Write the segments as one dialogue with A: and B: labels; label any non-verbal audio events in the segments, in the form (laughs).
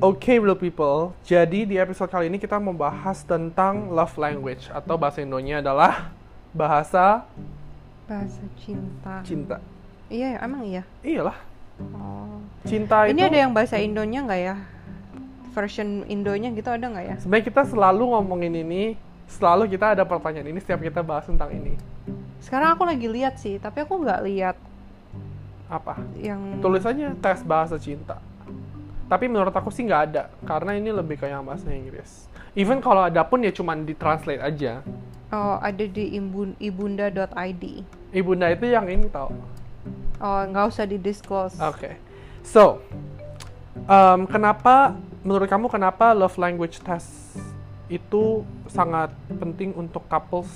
A: Oke, Blue People. Jadi di episode kali ini kita membahas tentang love language atau bahasa Indonya adalah bahasa
B: Bahasa cinta.
A: cinta.
B: Iya, ya, emang iya.
A: Iyalah,
B: Oh.
A: cinta
B: Ini
A: itu.
B: ada yang bahasa Indonya nggak ya? Version Indonya gitu ada nggak ya?
A: Sebenarnya kita selalu ngomongin ini, selalu kita ada pertanyaan ini setiap kita bahas tentang ini.
B: Sekarang aku lagi lihat sih, tapi aku nggak lihat
A: Apa?
B: yang
A: Tulisannya tes bahasa cinta. Tapi menurut aku sih nggak ada, karena ini lebih kayak bahasa Inggris. Even kalau ada pun ya cuman ditranslate aja.
B: oh, ada di imbun, ibunda.id.
A: Ibunda itu yang ini tau.
B: Oh, nggak usah di disclose.
A: Oke. So, um, kenapa menurut kamu kenapa love language test itu sangat penting untuk couples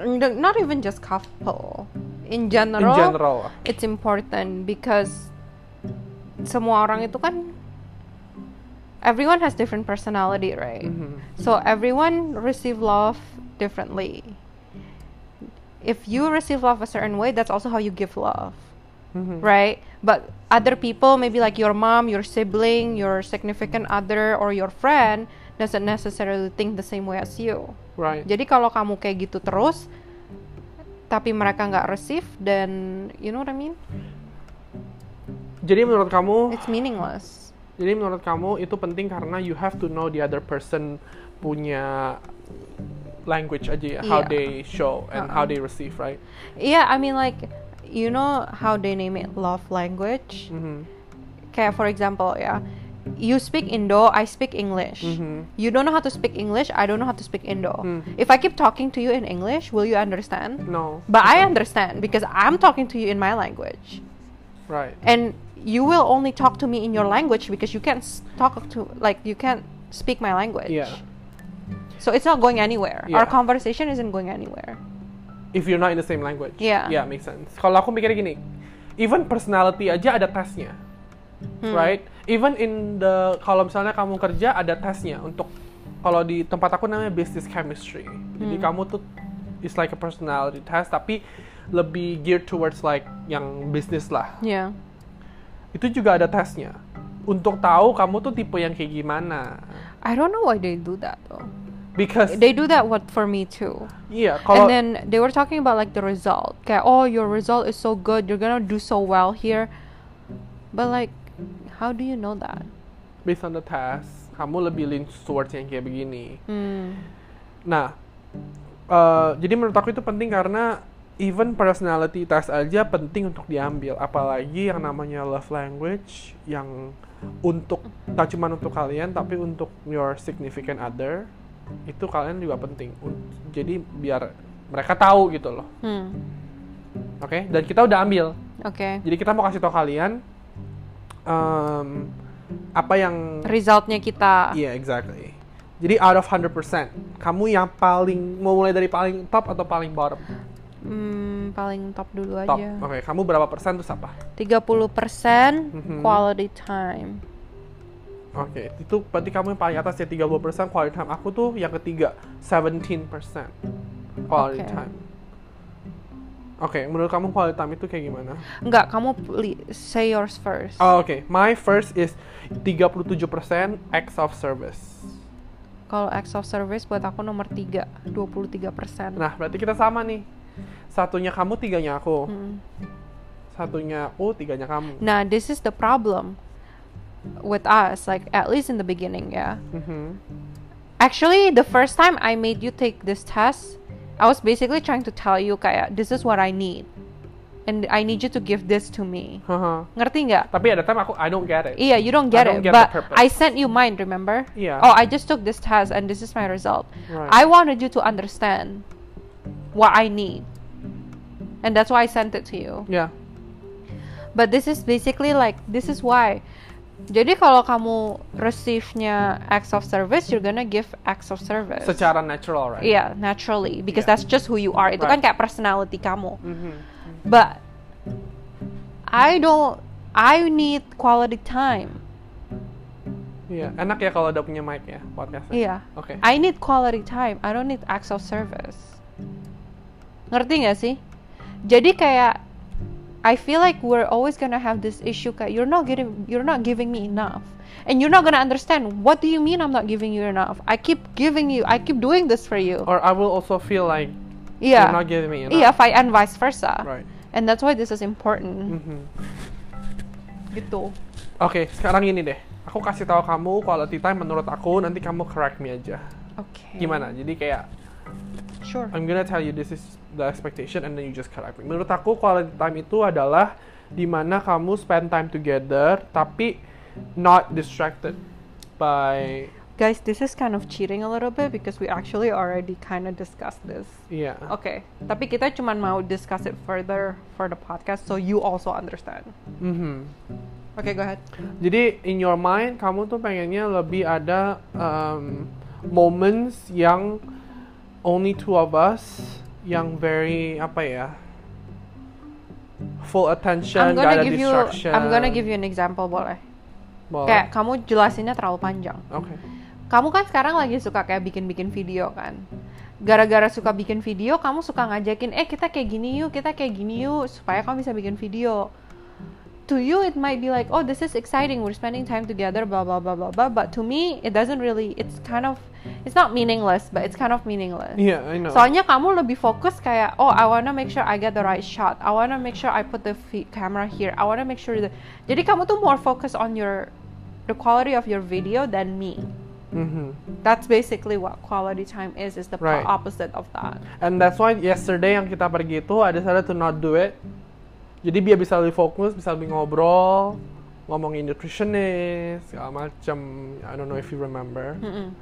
B: N- Not even just couple. In
A: in
B: general,
A: general?
B: it's important because semua orang itu kan everyone has different personality, right?
A: Mhm.
B: So everyone receive love differently. If you receive love a certain way, that's also how you give love,
A: Mhm.
B: right? But other people, maybe like your mom, your sibling, your significant other, or your friend, doesn't necessarily think the same way as you.
A: Right.
B: Jadi kalau kamu kayak gitu terus, tapi mereka nggak receive, then you know what I mean?
A: Jadi menurut kamu,
B: It's meaningless.
A: jadi menurut kamu itu penting karena you have to know the other person punya language aja ya, how
B: Iya.
A: they show and
B: Uh-uh.
A: how they receive, right?
B: Yeah, Iya, I mean like, you know how they name it love language?
A: Mhm.
B: kayak for example ya you speak Indo I speak English
A: Mhm.
B: you don't know how to speak English I don't know how to speak Indo
A: Hmm.
B: if I keep talking to you in English will you understand
A: No,
B: but I understand because I'm talking to you in my language
A: right?
B: and you will only talk to me in your language because you can't s- talk to like you can't speak my language
A: Yeah.
B: so it's not going anywhere
A: Yeah.
B: our conversation isn't going anywhere
A: If you're not in the same language.
B: Yeah.
A: Yeah, makes sense. Kalau aku mikirnya gini, even personality aja ada tesnya.
B: Hmm.
A: Right? Even in the kalau misalnya kamu kerja ada tesnya untuk kalau di tempat aku namanya business chemistry. Jadi
B: Hmm.
A: kamu tuh it's like a personality test tapi lebih geared towards like yang bisnis lah
B: yeah
A: itu juga ada tesnya untuk tahu kamu tuh tipe yang kayak gimana
B: I don't know why they do that though
A: because
B: they do that what for me too
A: iya kalau
B: and then they were talking about like the result. Kayak, oh your result is so good, you're gonna do so well here. But like, how do you know that?
A: based on the test kamu lebih lean towards yang kayak begini
B: Hmm.
A: nah eh, jadi menurut aku itu penting karena even personality test aja penting untuk diambil apalagi yang namanya love language yang untuk tak cuma untuk kalian tapi untuk your significant other itu kalian juga penting Un- jadi biar mereka tahu gitu loh
B: Hmm.
A: oke dan kita udah ambil
B: Oke.
A: jadi kita mau kasih tau kalian em, apa yang
B: Resultnya kita.
A: Iya, exactly. Jadi out of 100%, kamu yang paling mau mulai dari paling top atau paling bottom?
B: Hmm, paling top dulu
A: Top.
B: aja.
A: Oke, kamu berapa persen terus apa?
B: 30%
A: Mhm.
B: quality time.
A: Oke, itu berarti kamu yang paling atas ya 30% quality time. Aku tuh yang ketiga, 17% quality
B: Oke.
A: time. Oke, menurut kamu quality time itu kayak gimana?
B: Enggak, kamu li- say yours first.
A: Oh, Oke, my first is 37% acts of service.
B: Kalau acts of service buat aku nomor 3, 23%.
A: Nah, berarti kita sama nih. Satunya kamu, tiganya aku.
B: Mm.
A: Satunya aku, tiganya kamu.
B: Nah, this is the problem with us, like at least in the beginning, yeah.
A: Mhm.
B: Actually, the first time I made you take this test, I was basically trying to tell you kayak this is what I need, and I need you to give this to me.
A: Haha.
B: Ngerti nggak?
A: Tapi ada time aku I don't get it.
B: Iya, you don't get
A: I don't
B: it,
A: get
B: but
A: the purpose.
B: I sent you mine, remember?
A: Yeah.
B: Oh, I just took this test and this is my result.
A: Right.
B: I wanted you to understand what I need, and that's why I sent it to you.
A: yeah.
B: But this is basically like this is why. Jadi kalau kamu receive-nya acts of service, you're gonna give acts of service.
A: Secara natural, right?
B: Iya, naturally because
A: Yeah.
B: that's just who you are. Itu kan
A: Right.
B: kayak personality kamu.
A: Mhm.
B: But I don't I need quality time.
A: Iya. Enak ya kalau udah punya mic ya podcastnya.
B: Iya.
A: Oke.
B: I need quality time. I don't need acts of service. Ngerti nggak sih? Jadi kayak I feel like we're always gonna have this issue. Kayak, you're not getting, you're not giving me enough, and you're not gonna understand. What do you mean I'm not giving you enough? I keep giving you, I keep doing this for you.
A: Or I will also feel like
B: yeah,
A: you're not giving me enough.
B: yeah, fight and vice versa.
A: Right.
B: And that's why this is important.
A: Mhm.
B: Gitu.
A: Oke, sekarang ini deh. Aku kasih tahu kamu quality time menurut aku, nanti kamu correct me aja.
B: Okay.
A: Gimana? Jadi kayak
B: Sure.
A: I'm gonna tell you this is the expectation and then you just correct me. Menurut aku quality time itu adalah dimana kamu spend time together tapi not distracted by
B: Guys, this is kind of cheating a little bit because we actually already kind of discussed this.
A: yeah.
B: Okay, tapi kita cuman mau discuss it further for the podcast so you also understand.
A: Mhm.
B: Okay, go ahead.
A: Jadi in your mind kamu tuh pengennya lebih ada um, moments yang only two of us yang very apa ya full attention
B: I'm
A: gak
B: gonna
A: ada
B: give you
A: distraction.
B: I'm gonna give you an example boleh.
A: Boleh.
B: Kayak kamu jelasinnya terlalu panjang.
A: Oke.
B: Kamu kan sekarang lagi suka kayak bikin-bikin video kan. Gara-gara suka bikin video, kamu suka ngajakin, "Eh, kita kayak gini yuk, kita kayak gini yuk" supaya kamu bisa bikin video. To you it might be like, "Oh, this is exciting. We're spending time together, blah blah blah blah blah." But to me, it doesn't really it's kind of it's not meaningless, but it's kind of meaningless.
A: Yeah, I know.
B: Soalnya kamu lebih fokus kayak, oh I wanna make sure I get the right shot, I wanna make sure I put the fi- camera here, I wanna make sure that. Jadi kamu tuh more focus on your the quality of your video than me.
A: Mhm.
B: That's basically what quality time is. Is the po-
A: Right.
B: opposite of that.
A: And that's why yesterday yang kita pergi itu ada decided to not do it. Jadi biar bisa lebih fokus, bisa lebih ngobrol, ngomongin nutritionist, segala macem. I don't know if you remember.
B: Mm-mm.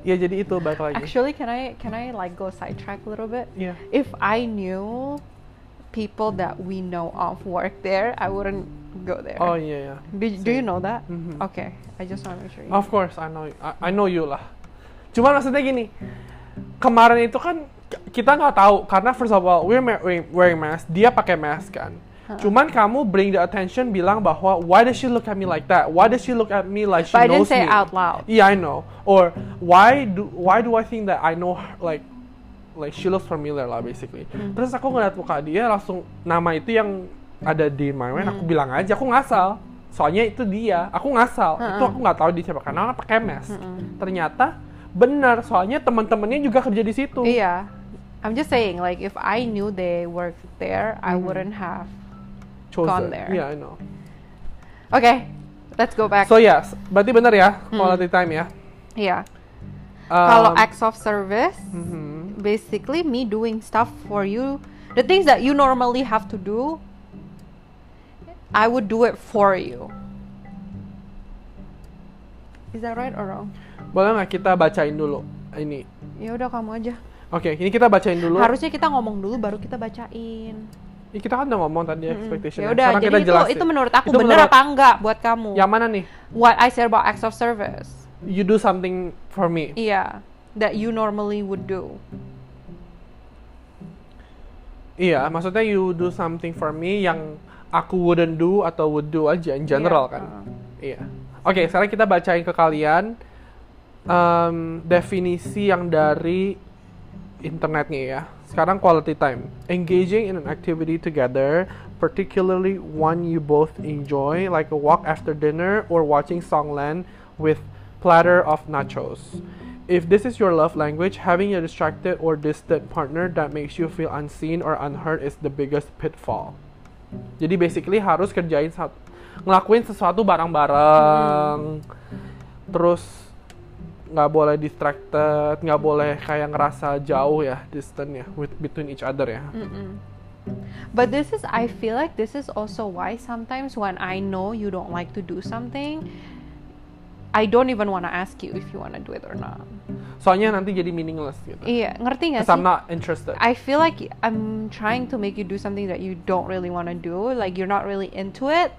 A: Ya jadi itu balik lagi. Iya.
B: Actually, can I can I like go sidetrack a little bit?
A: Yeah.
B: If I knew people that we know of work there, I wouldn't go there.
A: Oh iya ya.
B: do, do you know that?
A: Mhm.
B: Okay, I just want to make sure. You
A: Of course, I know, I, I know you lah. Cuma maksudnya gini, kemarin itu kan k- kita nggak tahu karena first of all we're ma- we- wearing mask, dia pakai mask kan. Cuman kamu bring the attention bilang bahwa why does she look at me like that? Why does she look at me like she
B: But I didn't
A: knows me?
B: say out loud.
A: Yeah, I know. Or why do why do I think that I know her, like like she looks familiar lah basically.
B: Hmm.
A: Terus aku ngeliat muka dia langsung nama itu yang ada di my mind
B: Hmm.
A: aku bilang aja aku ngasal. Soalnya itu dia, aku ngasal. Itu aku nggak tahu dia siapa karena orang pakai mask. Ternyata benar, soalnya teman-temannya juga kerja di situ.
B: Yeah. Iya. I'm just saying, like, if I knew they worked there, I
A: Mm-hmm.
B: wouldn't have.
A: Chosen.
B: gone there.
A: Yeah, I know.
B: Okay, let's go back.
A: So yes, berarti benar ya quality time ya.
B: yeah.
A: Um,
B: Hmm. Kalau acts of service,
A: mhm.
B: basically me doing stuff for you, the things that you normally have to do, I would do it for you. Is that right or wrong?
A: boleh nggak kita bacain dulu ini?
B: Ya udah kamu aja.
A: Oke, ini kita bacain dulu.
B: Harusnya kita ngomong dulu baru kita bacain.
A: Ya, kita kan udah ngomong tadi expectation. ya.
B: Ya udah,
A: Sekarang
B: jadi
A: kita
B: itu
A: jelasin.
B: itu menurut aku
A: Itu
B: benar
A: menurut-
B: apa enggak buat kamu?
A: Yang mana nih?
B: What I said about acts of service.
A: You do something for me.
B: Yeah, Iya, that you normally would do.
A: Iya, maksudnya you do something for me yang aku wouldn't do atau would do aja in general
B: Iya,
A: kan.
B: uh-uh.
A: Iya. Oke, sekarang kita bacain ke kalian em, definisi yang dari internetnya ya. Sekarang quality time. Engaging in an activity together, particularly one you both enjoy, like a walk after dinner or watching Songland with platter of nachos. If this is your love language, having a distracted or distant partner that makes you feel unseen or unheard is the biggest pitfall. Jadi basically harus kerjain sat- ngelakuin sesuatu bareng-bareng. Terus nggak boleh distracted, nggak boleh kayak ngerasa jauh ya distant ya with between each other ya.
B: Hmm. But this is, I feel like this is also why sometimes when I know you don't like to do something, I don't even want to ask you if you want to do it or not.
A: Soalnya nanti jadi meaningless gitu.
B: Iya, ngerti nggak
A: Cause I'm
B: sih?
A: not interested.
B: I feel like I'm trying to make you do something that you don't really want to do, like you're not really into it.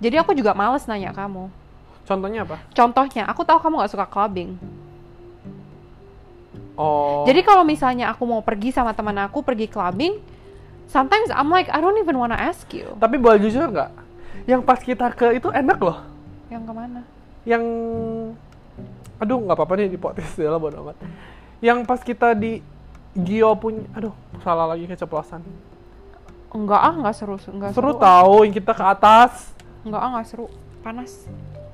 B: Jadi aku juga males nanya kamu.
A: Contohnya apa?
B: Contohnya, aku tahu kamu nggak suka clubbing.
A: Oh.
B: Jadi kalau misalnya aku mau pergi sama teman aku pergi clubbing, sometimes I'm like I don't even wanna ask you.
A: Oh, tapi boleh jujur nggak? Yang pas kita ke itu enak loh.
B: Yang kemana?
A: Yang aduh nggak apa-apa nih di podcast ya lah bodo amat. Yang pas kita di Gio punya, aduh salah lagi keceplosan.
B: Enggak ah, enggak seru, enggak
A: seru
B: ah.
A: tahu yang kita ke atas
B: Enggak ah, enggak seru. Panas.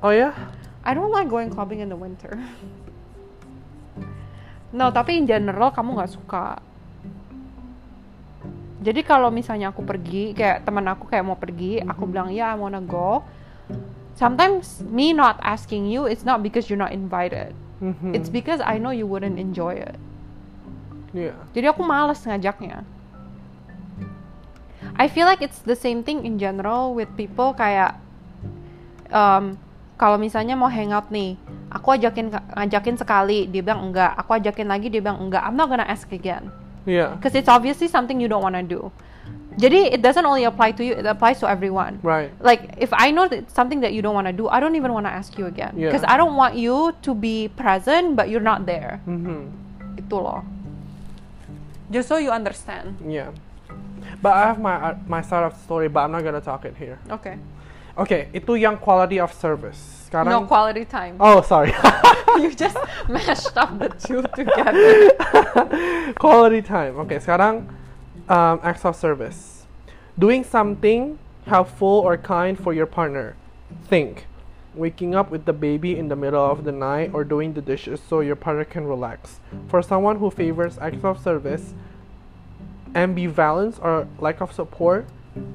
A: oh ya
B: I don't like going clubbing in the winter. No, tapi in general kamu nggak suka. Jadi kalau misalnya aku pergi, kayak teman aku kayak mau pergi, aku bilang ya I wanna go. Sometimes me not asking you, it's not because you're not invited.
A: Mhm.
B: It's because I know you wouldn't enjoy it.
A: Iya.
B: Jadi aku males ngajaknya. I feel like it's the same thing in general with people kayak um, kalau misalnya mau hangout nih, aku ajakin ngajakin sekali, dia bilang enggak. Aku ajakin lagi, dia bilang enggak. I'm not gonna ask again.
A: Iya.
B: Because it's obviously something you don't wanna do. Jadi it doesn't only apply to you, it applies to everyone.
A: right
B: Like if I know that it's something that you don't wanna do, I don't even wanna ask you again.
A: Yeah.
B: Because I don't want you to be present but you're not there
A: Mhm.
B: itu loh just so you understand
A: Yeah. But I have my uh, my side of the story, but I'm not gonna talk it here.
B: oke
A: Oke, itu yang quality of service.
B: no
A: Sekarang
B: quality time
A: Oh, sorry.
B: (laughs)
A: (laughs)
B: you just mashed up the (laughs) two together
A: quality time. Oke, sekarang um, acts of service. Doing something helpful or kind for your partner. Think. Waking up with the baby in the middle of the night or doing the dishes so your partner can relax. For someone who favors acts of service, ambivalence or lack of support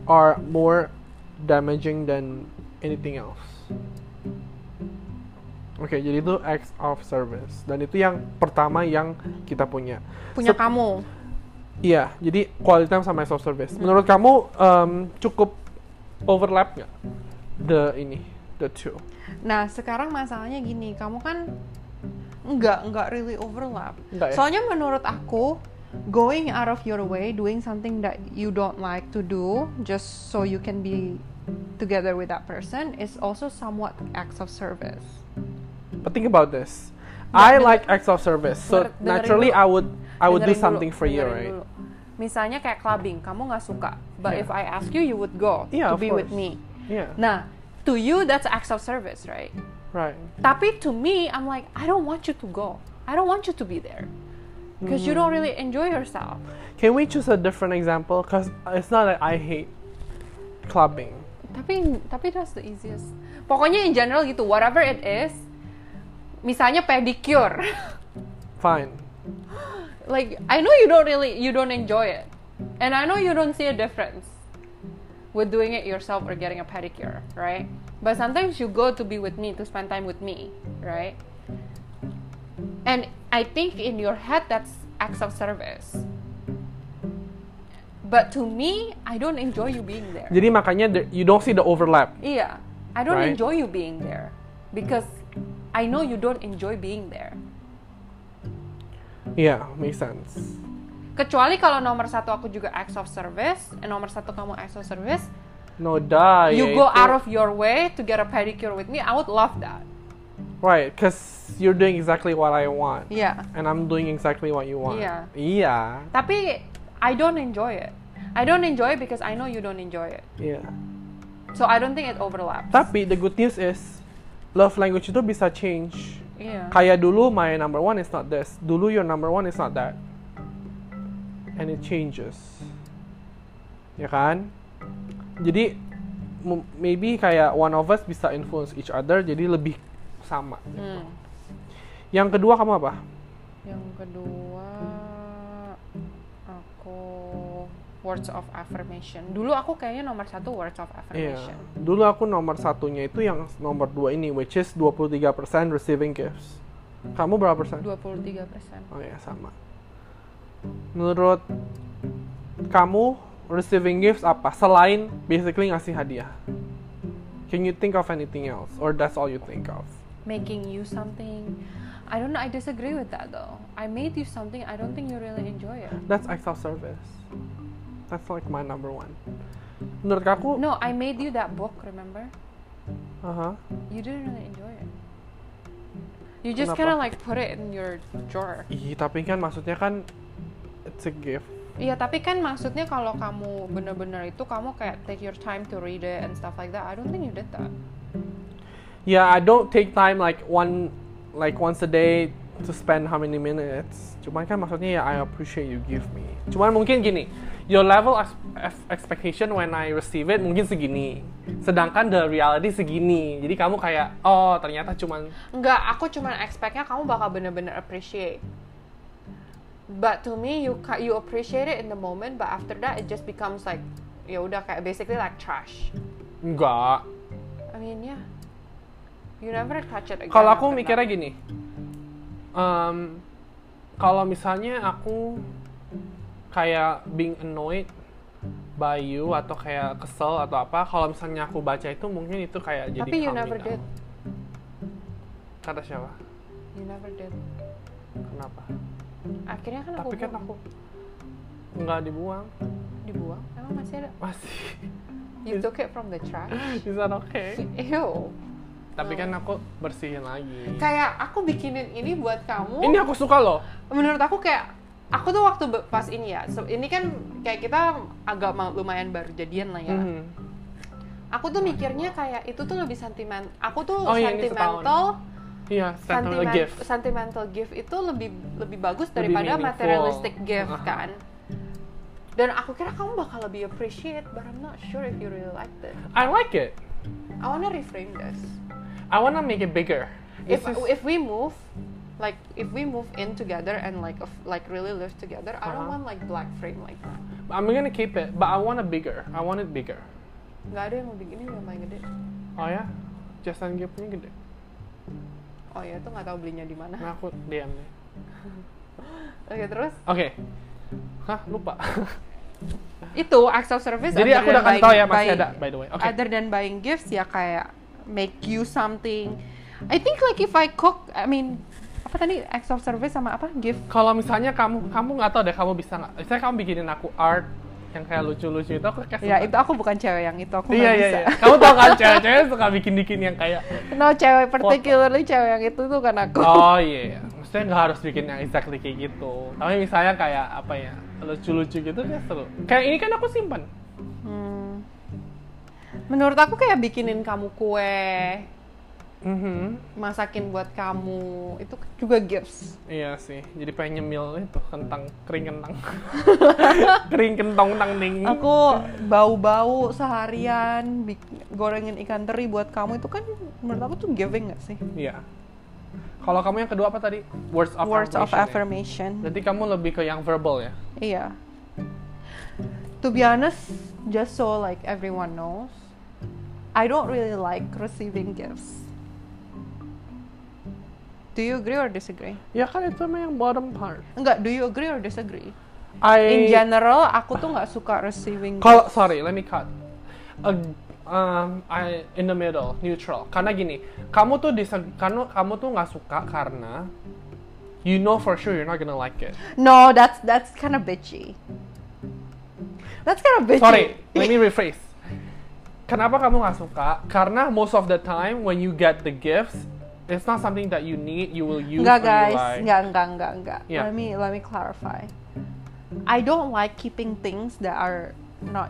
A: are more damaging than anything else. Oke, jadi itu acts of service dan itu yang pertama yang kita punya.
B: punya
A: Sep-
B: kamu
A: Iya, jadi quality time sama acts of service. Menurut kamu em, cukup overlap nggak the ini the two?
B: nah sekarang masalahnya gini kamu kan nggak nggak really overlap
A: Nggak ya?
B: soalnya menurut aku going out of your way doing something that you don't like to do just so you can be together with that person is also somewhat acts of service
A: But think about this. I
B: Nah, denger-
A: like acts of service, so
B: denger- dengerin
A: naturally
B: dulu.
A: I would I would do
B: Dengerin dulu,
A: something for you,
B: dengerin
A: right?
B: dulu. Misalnya kayak clubbing, kamu nggak suka, but
A: Yeah.
B: if I ask you, you would go
A: Yeah,
B: to
A: of
B: be with
A: course.
B: me.
A: Yeah,
B: Nah, to you that's acts of service, right?
A: right.
B: Tapi to me, I'm like, I don't want you to go. I don't want you to be there because you
A: Hmm.
B: don't really enjoy yourself.
A: Can we choose a different example? Cause it's not that I hate clubbing.
B: Tapi tapi that's the easiest. Pokoknya in general gitu, whatever it is. Misalnya pedicure, (laughs)
A: Fine.
B: like I know you don't really you don't enjoy it, and I know you don't see a difference. with doing it yourself or getting a pedicure, right? But sometimes you go to be with me, to spend time with me, right? And I think in your head that's acts of service. But to me, I don't enjoy you being there.
A: Jadi makanya there- you don't see the overlap.
B: Yeah. I don't
A: Right.
B: enjoy you being there because I know you don't enjoy being there.
A: Yeah, makes sense.
B: Kecuali kalau nomor satu aku juga acts of service, and nomor satu kamu acts of service,
A: No die.
B: you go out of your way to get a pedicure with me, I would love that.
A: Right, cause you're doing exactly what I want.
B: Yeah.
A: And I'm doing exactly what you want.
B: Iya.
A: Iya.
B: tapi I don't enjoy it. I don't enjoy it because I know you don't enjoy it.
A: Iya.
B: So I don't think it overlaps.
A: Tapi the good news is love language itu bisa change.
B: yeah.
A: Kayak dulu my number one is not this. Dulu your number one is not that. And it changes. Ya kan? Jadi m- maybe kayak one of us bisa influence each other jadi lebih sama.
B: Hmm.
A: Yang kedua kamu apa?
B: Yang kedua aku words of affirmation. Dulu aku kayaknya nomor satu words of
A: Iya.
B: affirmation.
A: Dulu aku nomor satunya itu yang nomor dua ini, which is 23% receiving gifts. Kamu berapa persen?
B: 23 persen.
A: Oh ya sama. Menurut kamu receiving gifts apa selain basically ngasih hadiah? Can you think of anything else or that's all you think of?
B: Making you something. I don't know. I disagree with that though. I made you something. I don't think you really enjoy it.
A: That's acts of service. That's like my number one. Menurut aku,
B: No, I made you that book. Remember?
A: aha.
B: You didn't really enjoy it. You
A: Kenapa?
B: just kind of like put it in your drawer.
A: Ih, tapi kan maksudnya kan it's a gift.
B: Iya, tapi kan maksudnya kalau kamu bener-bener itu kamu kayak take your time to read it and stuff like that. I don't think you did that.
A: Yeah, I don't take time like one like once a day to spend how many minutes. Cuman kan maksudnya ya I appreciate you give me. Cuman mungkin gini, your level ex- ex- expectation when I receive it mungkin segini. Sedangkan the reality segini. Jadi kamu kayak, oh ternyata cuman
B: Enggak, aku cuman expect-nya kamu bakal bener-bener appreciate. But to me, you ca- you appreciate it in the moment, but after that it just becomes like ya udah kayak basically like trash.
A: enggak.
B: I mean, yeah. You never touch it again.
A: Kalau aku
B: after
A: mikirnya
B: that.
A: gini, um, kalau misalnya aku kayak being annoyed by you atau kayak kesel atau apa, kalau misalnya aku baca itu mungkin itu kayak jadi
B: Tapi you
A: calming kan.
B: never
A: down.
B: did.
A: Kata siapa?
B: You never did.
A: Kenapa?
B: Akhirnya kan aku
A: Tapi kan aku nggak dibuang, (laughs)
B: dibuang. Emang masih ada.
A: masih
B: You took it from the trash.
A: is that okay?
B: Ew.
A: Tapi kan aku bersihin lagi.
B: Kayak aku bikinin ini buat kamu.
A: Ini aku suka loh.
B: menurut aku kayak aku tuh waktu be- pas ini ya se- ini kan kayak kita agak ma- lumayan baru jadian lah ya
A: Mhm.
B: aku tuh mikirnya kayak itu tuh lebih sentimen aku tuh
A: Oh iya, ini
B: sentimental
A: Iya, sentimental
B: sentimen-
A: gift.
B: sentimental gift itu lebih lebih bagus
A: Lebih
B: daripada
A: meaningful.
B: materialistic gift
A: Uh-huh.
B: kan dan aku kira kamu bakal lebih appreciate but I'm not sure if you really liked it
A: I like it.
B: I wanna reframe this
A: I wanna make it bigger.
B: if
A: This is-
B: if we move like if we move in together and like of- like really live together I don't
A: Uh-huh.
B: want like black frame like that
A: I'm gonna keep it, but I want it bigger. I want it bigger.
B: nggak ada yang lebih gini udah paling gede
A: Oh ya, Justin Gip punya gede.
B: oh ya itu nggak tahu belinya di mana (laughs)
A: Nah aku DM nih.
B: oke terus
A: Oke. Hah lupa.
B: itu acts of service
A: Jadi
B: other
A: aku udah
B: than
A: kasih
B: buying-
A: tau ya masih
B: buying-
A: ada by the way. Oke.
B: other than buying gifts ya kayak make you something I think like if I cook I mean apa tadi acts of service sama apa gift
A: Kalau misalnya kamu kamu nggak tahu deh kamu bisa nggak? Misalnya kamu bikinin aku art yang kayak lucu-lucu itu aku kasih.
B: ya itu aku bukan cewek yang itu aku
A: Iya
B: nggak
A: iya
B: bisa
A: iya. Kamu tau kan cewek-cewek suka bikin-bikin yang kayak
B: (laughs) no cewek particularly cewek yang itu tuh kan aku
A: Oh iya, iya. maksudnya nggak harus bikin yang exactly kayak gitu. Tapi misalnya kayak apa ya, lucu-lucu gitu kan seru. Kayak ini kan aku simpan.
B: Hmm. menurut aku kayak bikinin kamu kue Mm-hmm.
A: Mhm.
B: masakin buat kamu itu juga gifts
A: Iya sih, jadi pengen nyemil itu kentang, kering kentang. (laughs) kering kentong tang ting.
B: aku bau-bau seharian bik- gorengin ikan teri buat kamu itu kan menurut aku tuh giving gak sih
A: Iya. Kalau kamu yang kedua apa tadi? Words of
B: words of
A: affirmation. ya?
B: affirmation
A: Berarti kamu lebih ke yang verbal ya?
B: iya to be honest just so like everyone knows I don't really like receiving gifts do you agree or disagree
A: Ya kan itu emang yang bottom part.
B: enggak do you agree or disagree in
A: I
B: general aku tuh nggak suka receiving
A: Kalau
B: gifts.
A: sorry, let me cut. Ag- um, I in the middle, neutral. Karena gini, kamu tuh diseg- karena kamu tuh nggak suka karena you know for sure you're not gonna like it.
B: no that's that's kind of bitchy that's kind of bitchy (laughs)
A: Sorry, let me rephrase. Kenapa kamu nggak suka? Karena most of the time when you get the gifts, it's not something that you need, you will use. or
B: Enggak
A: you
B: guys,
A: like.
B: enggak enggak enggak enggak.
A: Yeah.
B: Let me let me clarify. I don't like keeping things that are not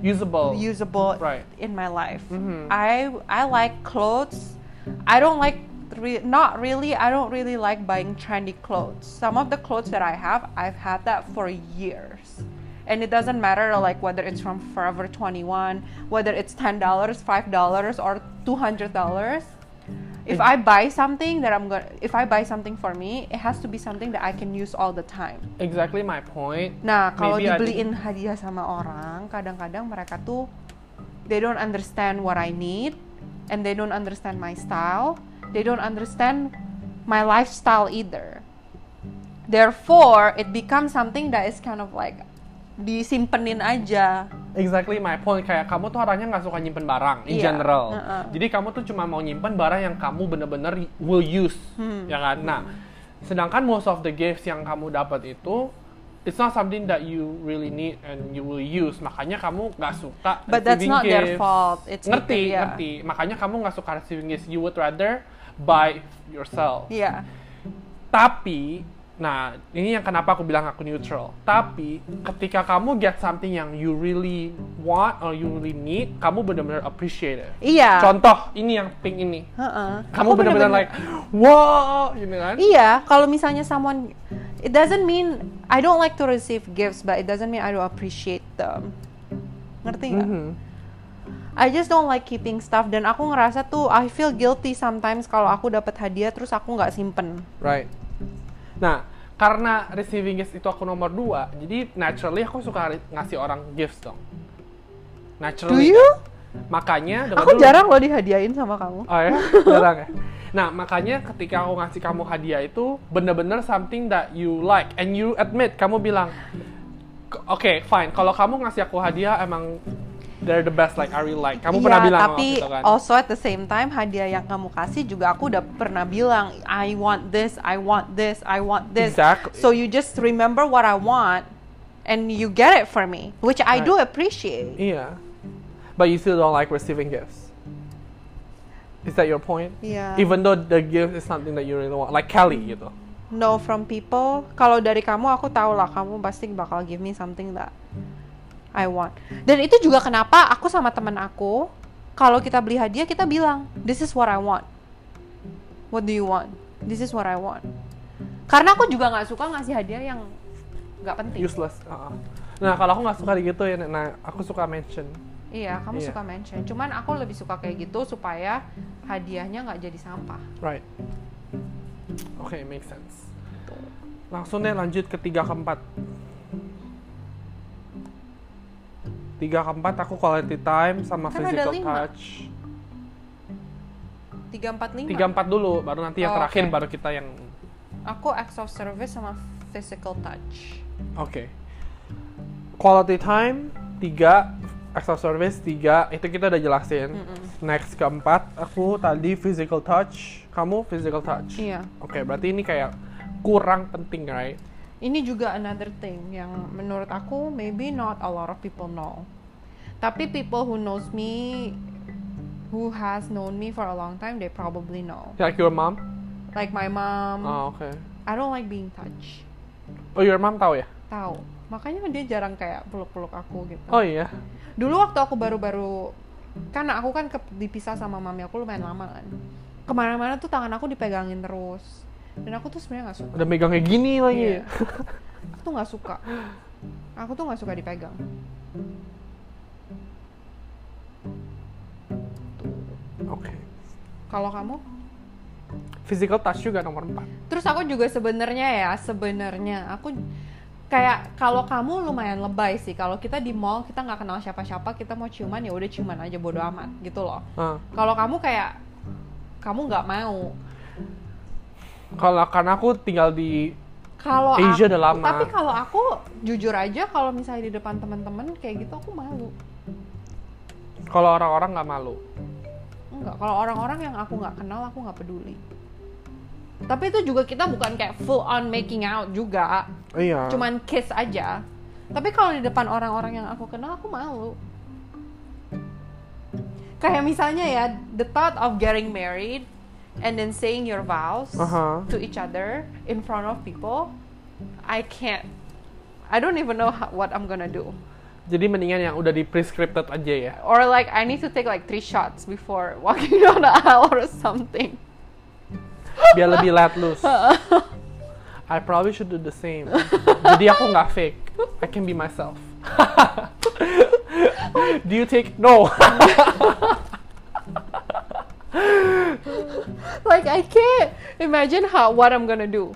A: Usable.
B: usable
A: Right.
B: in my life.
A: Mhm.
B: I I like clothes. I don't like re- not really. I don't really like buying trendy clothes. Some of the clothes that I have, I've had that for years. And it doesn't matter like whether it's from Forever 21, whether it's $10, $5 or $200. If I buy something that I'm gonna, if I buy something for me, it has to be something that I can use all the time.
A: Exactly my point.
B: Nah, kalau
A: Maybe I
B: dibeliin hadiah sama orang, kadang-kadang mereka tuh they don't understand what I need and they don't understand my style. They don't understand my lifestyle either. Therefore, it becomes something that is kind of like disimpenin aja.
A: Exactly my point. Kayak kamu tuh orangnya nggak suka nyimpen barang in
B: Iya,
A: general.
B: uh-uh.
A: Jadi kamu tuh cuma mau nyimpen barang yang kamu bener-bener will use,
B: Hmm.
A: ya kan? Nah, sedangkan most of the gifts yang kamu dapat itu It's not something that you really need and you will use. Makanya kamu nggak suka
B: But that's
A: receiving
B: not their
A: gifts.
B: fault. It's iya.
A: ngerti,
B: because- yeah.
A: ngerti. Makanya kamu nggak suka receiving gifts. You would rather buy yourself.
B: Iya.
A: Tapi, nah ini yang kenapa aku bilang aku neutral. Tapi ketika kamu get something yang you really want or you really need, kamu benar-benar appreciate it.
B: Iya.
A: Contoh ini yang pink ini.
B: Heeh.
A: Kamu
B: Aku
A: benar-benar like, wow, gitu kan?
B: Iya, kalau misalnya someone it doesn't mean I don't like to receive gifts, but it doesn't mean I don't appreciate them. Ngerti nggak?
A: Mhm.
B: I just don't like keeping stuff dan aku ngerasa tuh I feel guilty sometimes kalau aku dapat hadiah terus aku nggak simpen.
A: Right. Nah, karena receiving gifts itu aku nomor dua, jadi naturally aku suka hari- ngasih orang gifts dong.
B: Do
A: Naturally.
B: you?
A: Makanya dengar
B: Aku
A: dulu.
B: jarang loh dihadiahin sama kamu.
A: Oh ya, jarang ya. Nah, makanya ketika aku ngasih kamu hadiah itu bener-bener something that you like and you admit kamu bilang "K- oke fine kalau kamu ngasih aku hadiah emang they're the best like I really like kamu pernah
B: Iya,
A: bilang
B: tapi
A: waktu itu kan
B: also at the same time hadiah yang kamu kasih juga aku udah pernah bilang I want this, I want this, I want this.
A: Exactly.
B: So you just remember what I want and you get it for me, which I do appreciate.
A: Iya. But you still don't like receiving gifts. Is that your point?
B: Iya.
A: Even though the gift is something that you really want, like Kelly gitu.
B: No from people. Kalau dari kamu aku tahu lah kamu pasti bakal give me something that I want. Dan itu juga kenapa aku sama teman aku kalau kita beli hadiah kita bilang this is what I want. What do you want? This is what I want. Karena aku juga nggak suka ngasih hadiah yang nggak penting.
A: Useless. uh-uh. Nah kalau aku nggak suka gitu ya, nah aku suka mention.
B: Iya, kamu
A: Iya.
B: suka mention. Cuman aku lebih suka kayak gitu supaya hadiahnya nggak jadi sampah.
A: Right. Oke, make sense. Langsung deh lanjut ke tiga keempat. Tiga keempat aku quality time sama
B: Kan ada
A: physical
B: lima.
A: touch.
B: Tiga empat lima.
A: Tiga empat dulu, baru nanti yang
B: Oh,
A: terakhir
B: oke.
A: baru kita yang
B: Aku acts of service sama physical touch.
A: Oke. Quality time 3, extra service 3, itu kita udah jelasin. Next keempat, aku tadi physical touch, kamu physical touch.
B: Iya.
A: Oke, berarti ini kayak kurang penting, right?
B: Ini juga another thing yang menurut aku maybe not a lot of people know. Tapi people who knows me, who has known me for a long time, they probably know.
A: Like your mom?
B: Like my mom,
A: Oh, oke.
B: I don't like being touched.
A: Oh, your mom tahu ya?
B: Tahu. Makanya dia jarang kayak peluk-peluk aku gitu.
A: Oh iya.
B: Dulu waktu aku baru-baru kan aku kan ke- dipisah sama mami aku lumayan lama kan. Kemana-mana tuh tangan aku dipegangin terus. Dan aku tuh sebenarnya nggak suka.
A: Udah megang kayak gini lagi.
B: Iya. aku tuh nggak suka. Aku tuh nggak suka dipegang.
A: (laughs) Oke.
B: Kalau kamu?
A: Physical touch juga nomor 4.
B: Terus aku juga sebenarnya ya, sebenarnya aku kayak kalau kamu lumayan lebay sih. Kalau kita di mall kita nggak kenal siapa-siapa, kita mau ciuman ya udah ciuman aja bodo amat gitu loh.
A: Ah.
B: Kalau kamu kayak kamu nggak mau.
A: Kalau karena aku tinggal di
B: Kalau
A: Asia
B: aku-
A: Eh, udah lama.
B: Tapi kalau aku jujur aja kalau misalnya di depan teman-teman kayak gitu aku malu.
A: kalau orang-orang nggak malu.
B: Enggak, kalau orang-orang yang aku nggak kenal aku nggak peduli. Tapi itu juga kita bukan kayak full on making out juga,
A: Iya.
B: cuman kiss aja. Tapi kalau di depan orang-orang yang aku kenal aku malu. Kayak misalnya ya, the thought of getting married and then saying your vows
A: Aha.
B: to each other in front of people, I can't. I don't even know how- what I'm gonna do.
A: Jadi mendingan yang udah di prescripted aja ya.
B: or like I need to take like three shots before (laughs) walking down the aisle or something.
A: biar lebih let
B: (laughs)
A: loose. I probably should do the same. Jadi aku nggak fake. I can be myself. (laughs) do you take no?
B: Like I can't imagine how what I'm gonna do.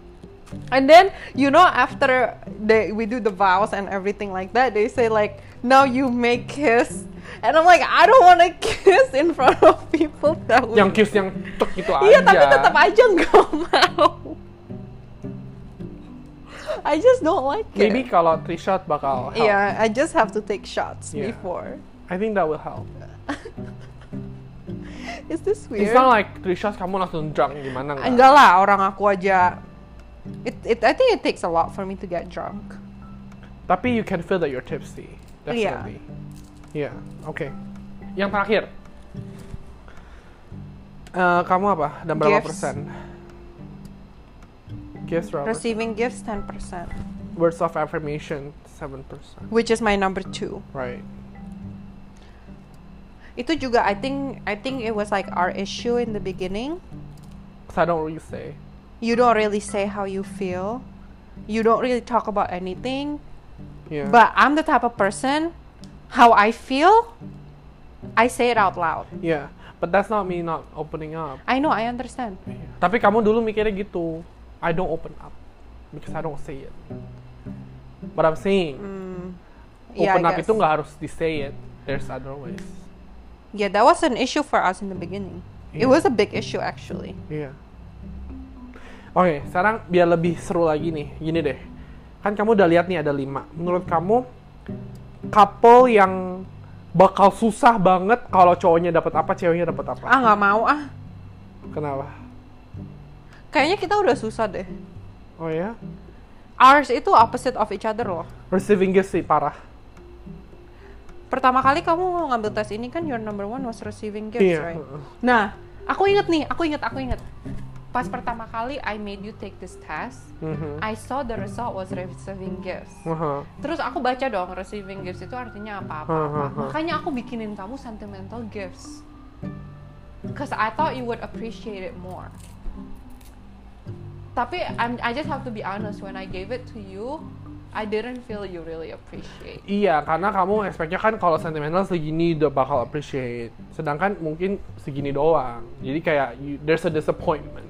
B: And then you know after they we do the vows and everything like that, they say like now you may kiss, and I'm like I don't want to (laughs) kiss in front of people that would.
A: yang kiss yang tuk gitu aja.
B: (laughs) Iya tapi tetap aja nggak mau. I just don't like it.
A: Maybe kalau three shot bakal help.
B: Yeah, I just have to take shots
A: Yeah.
B: before.
A: I think that will help.
B: Is this weird?
A: It's not like three shots kamu langsung drunk gimana nggak?
B: Enggak lah, orang aku aja. It, it, I think it takes a lot for me to get drunk.
A: Tapi you can feel that you're tipsy.
B: Iya.
A: Definitely. Yeah. Oke. Yang terakhir. Eh, kamu apa? Dan berapa
B: Gifts.
A: persen? Gifts berapa?
B: Receiving gifts 10%,
A: words of affirmation 7%.
B: which is my number two.
A: Right.
B: Itu juga I think I think it was like our issue in the beginning.
A: Cause I don't really say.
B: You don't really say how you feel. You don't really talk about anything.
A: Yeah.
B: But I'm the type of person, how I feel, I say it out loud.
A: yeah. But that's not me not opening up.
B: I know, I understand.
A: Tapi kamu dulu mikirnya gitu. I don't open up because I don't say it. But I'm saying
B: Yeah,
A: open
B: I
A: up
B: guess.
A: itu nggak harus di say it. There's other ways.
B: Yeah, that was an issue for us in the beginning. It
A: Yeah.
B: was a big issue actually.
A: Iya. Oke, sekarang biar lebih seru lagi nih. Gini deh. Kan kamu udah lihat nih ada lima. Menurut kamu couple yang bakal susah banget kalau cowoknya dapat apa, ceweknya dapat apa?
B: Ah nggak mau ah.
A: Kenapa?
B: Kayaknya kita udah susah deh.
A: Oh ya?
B: Ours itu opposite of each other loh.
A: Receiving gift sih parah.
B: Pertama kali kamu ngambil tes ini kan your number one was receiving gifts,
A: Iya,
B: right?
A: heeh.
B: Nah, aku inget nih, aku inget, aku inget. Pas pertama kali I made you take this test,
A: Mhm.
B: I saw the result was receiving gifts.
A: Aha.
B: Terus aku baca dong receiving gifts itu artinya apa-apa.
A: Aha, aha.
B: Makanya aku bikinin kamu sentimental gifts. Cause I thought you would appreciate it more. Tapi I'm, I just have to be honest when I gave it to you, I didn't feel you really appreciate.
A: Iya, karena kamu expect-nya kan kalau sentimental segini udah bakal appreciate. Sedangkan mungkin segini doang. Jadi kayak you- there's a disappointment.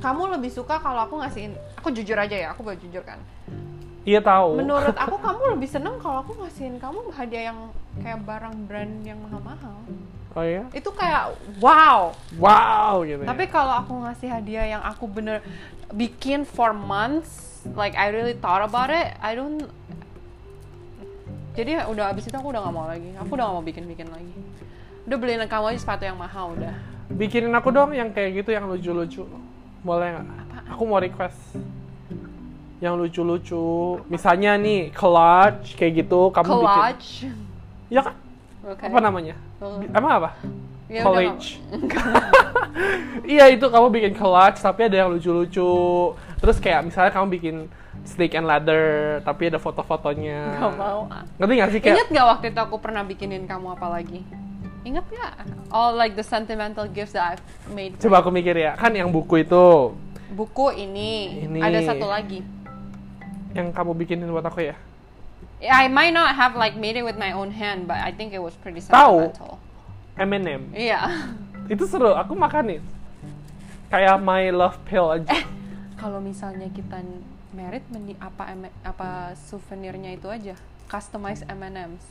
B: Kamu lebih suka kalau aku ngasihin, aku jujur aja ya, aku boleh jujur kan.
A: Iya tahu.
B: Menurut
A: (laughs)
B: aku kamu lebih seneng kalau aku ngasihin kamu hadiah yang kayak barang brand yang mahal-mahal.
A: Oh iya?
B: Itu kayak wow.
A: Wow gitu. ya.
B: Tapi kalau aku ngasih hadiah yang aku bener bikin for months, like I really thought about it, I don't. Jadi udah abis itu aku udah gak mau lagi. Aku udah gak mau bikin-bikin lagi. Udah beliin kamu aja sepatu yang mahal udah.
A: bikinin aku dong yang kayak gitu yang lucu-lucu. Boleh nggak? Aku mau request yang lucu-lucu. Misalnya nih collage kayak gitu kamu bikin.
B: Collage.
A: Ya kan?
B: Oke.
A: Apa namanya?
B: Tuh.
A: Emang apa?
B: Ya udah,
A: college. (laughs) Iya itu kamu bikin collage tapi ada yang lucu-lucu. Terus kayak misalnya kamu bikin snake and ladder tapi ada foto-fotonya.
B: Gak gak mau. ah.
A: Ngerti gak sih kayak?
B: Ingat gak waktu itu aku pernah bikinin kamu apa lagi? Ingat gak? All like the sentimental gifts that I've made.
A: Coba aku mikir ya kan yang buku itu
B: Buku ini.
A: Ini.
B: Ada satu lagi.
A: yang kamu bikinin buat aku ya.
B: I might not have like made it with my own hand, but I think it was pretty
A: Tahu.
B: sentimental.
A: M&M
B: Iya. (laughs)
A: itu seru. Aku makan nih. Kayak my love pill aja.
B: Eh. Kalau misalnya kita merit mendi apa em- apa souvenirnya itu aja, customize M&Ms.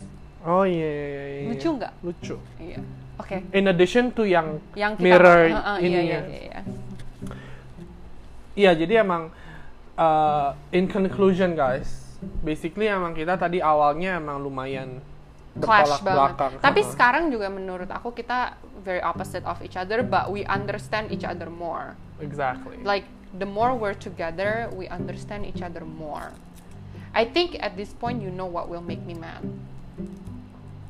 A: Oh iya iya iya. iya.
B: Lucu nggak?
A: Lucu.
B: Iya. Oke.
A: In addition to yang,
B: Yang kita
A: mirror
B: Heeh,
A: ini
B: iya,
A: ya.
B: iya, iya, iya.
A: Iya, jadi emang uh, in conclusion guys, basically emang kita tadi awalnya emang lumayan
B: Clash
A: bertolak
B: banget.
A: belakang. Uh-huh.
B: Tapi
A: Ha-ha.
B: sekarang juga menurut aku kita very opposite of each other, but we understand each other more.
A: exactly.
B: like the more we're together, we understand each other more. I think at this point you know what will make me mad.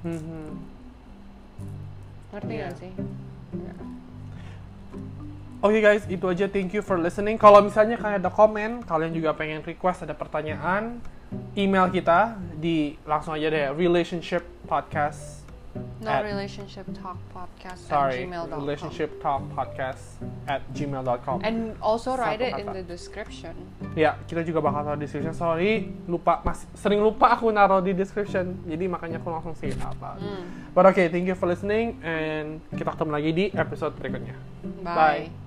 A: Mhm.
B: Ngerti nggak
A: Yeah.
B: sih?
A: Oke Oh, guys, itu aja. Thank you for listening. Kalau misalnya kalian ada komen, kalian juga pengen request ada pertanyaan, email kita di langsung aja deh relationship podcast
B: No
A: At-
B: relationship talk podcast
A: sorry
B: at gmail.com.
A: relationship talk podcast at gmail.com
B: And also write
A: Satu
B: it in
A: kata.
B: the description.
A: Ya, kita juga bakal taruh di description. Sorry, lupa mas, sering lupa aku naruh di description. Jadi makanya aku langsung say apa. But okay, thank you for listening and kita ketemu lagi di episode berikutnya.
B: Bye.
A: Bye.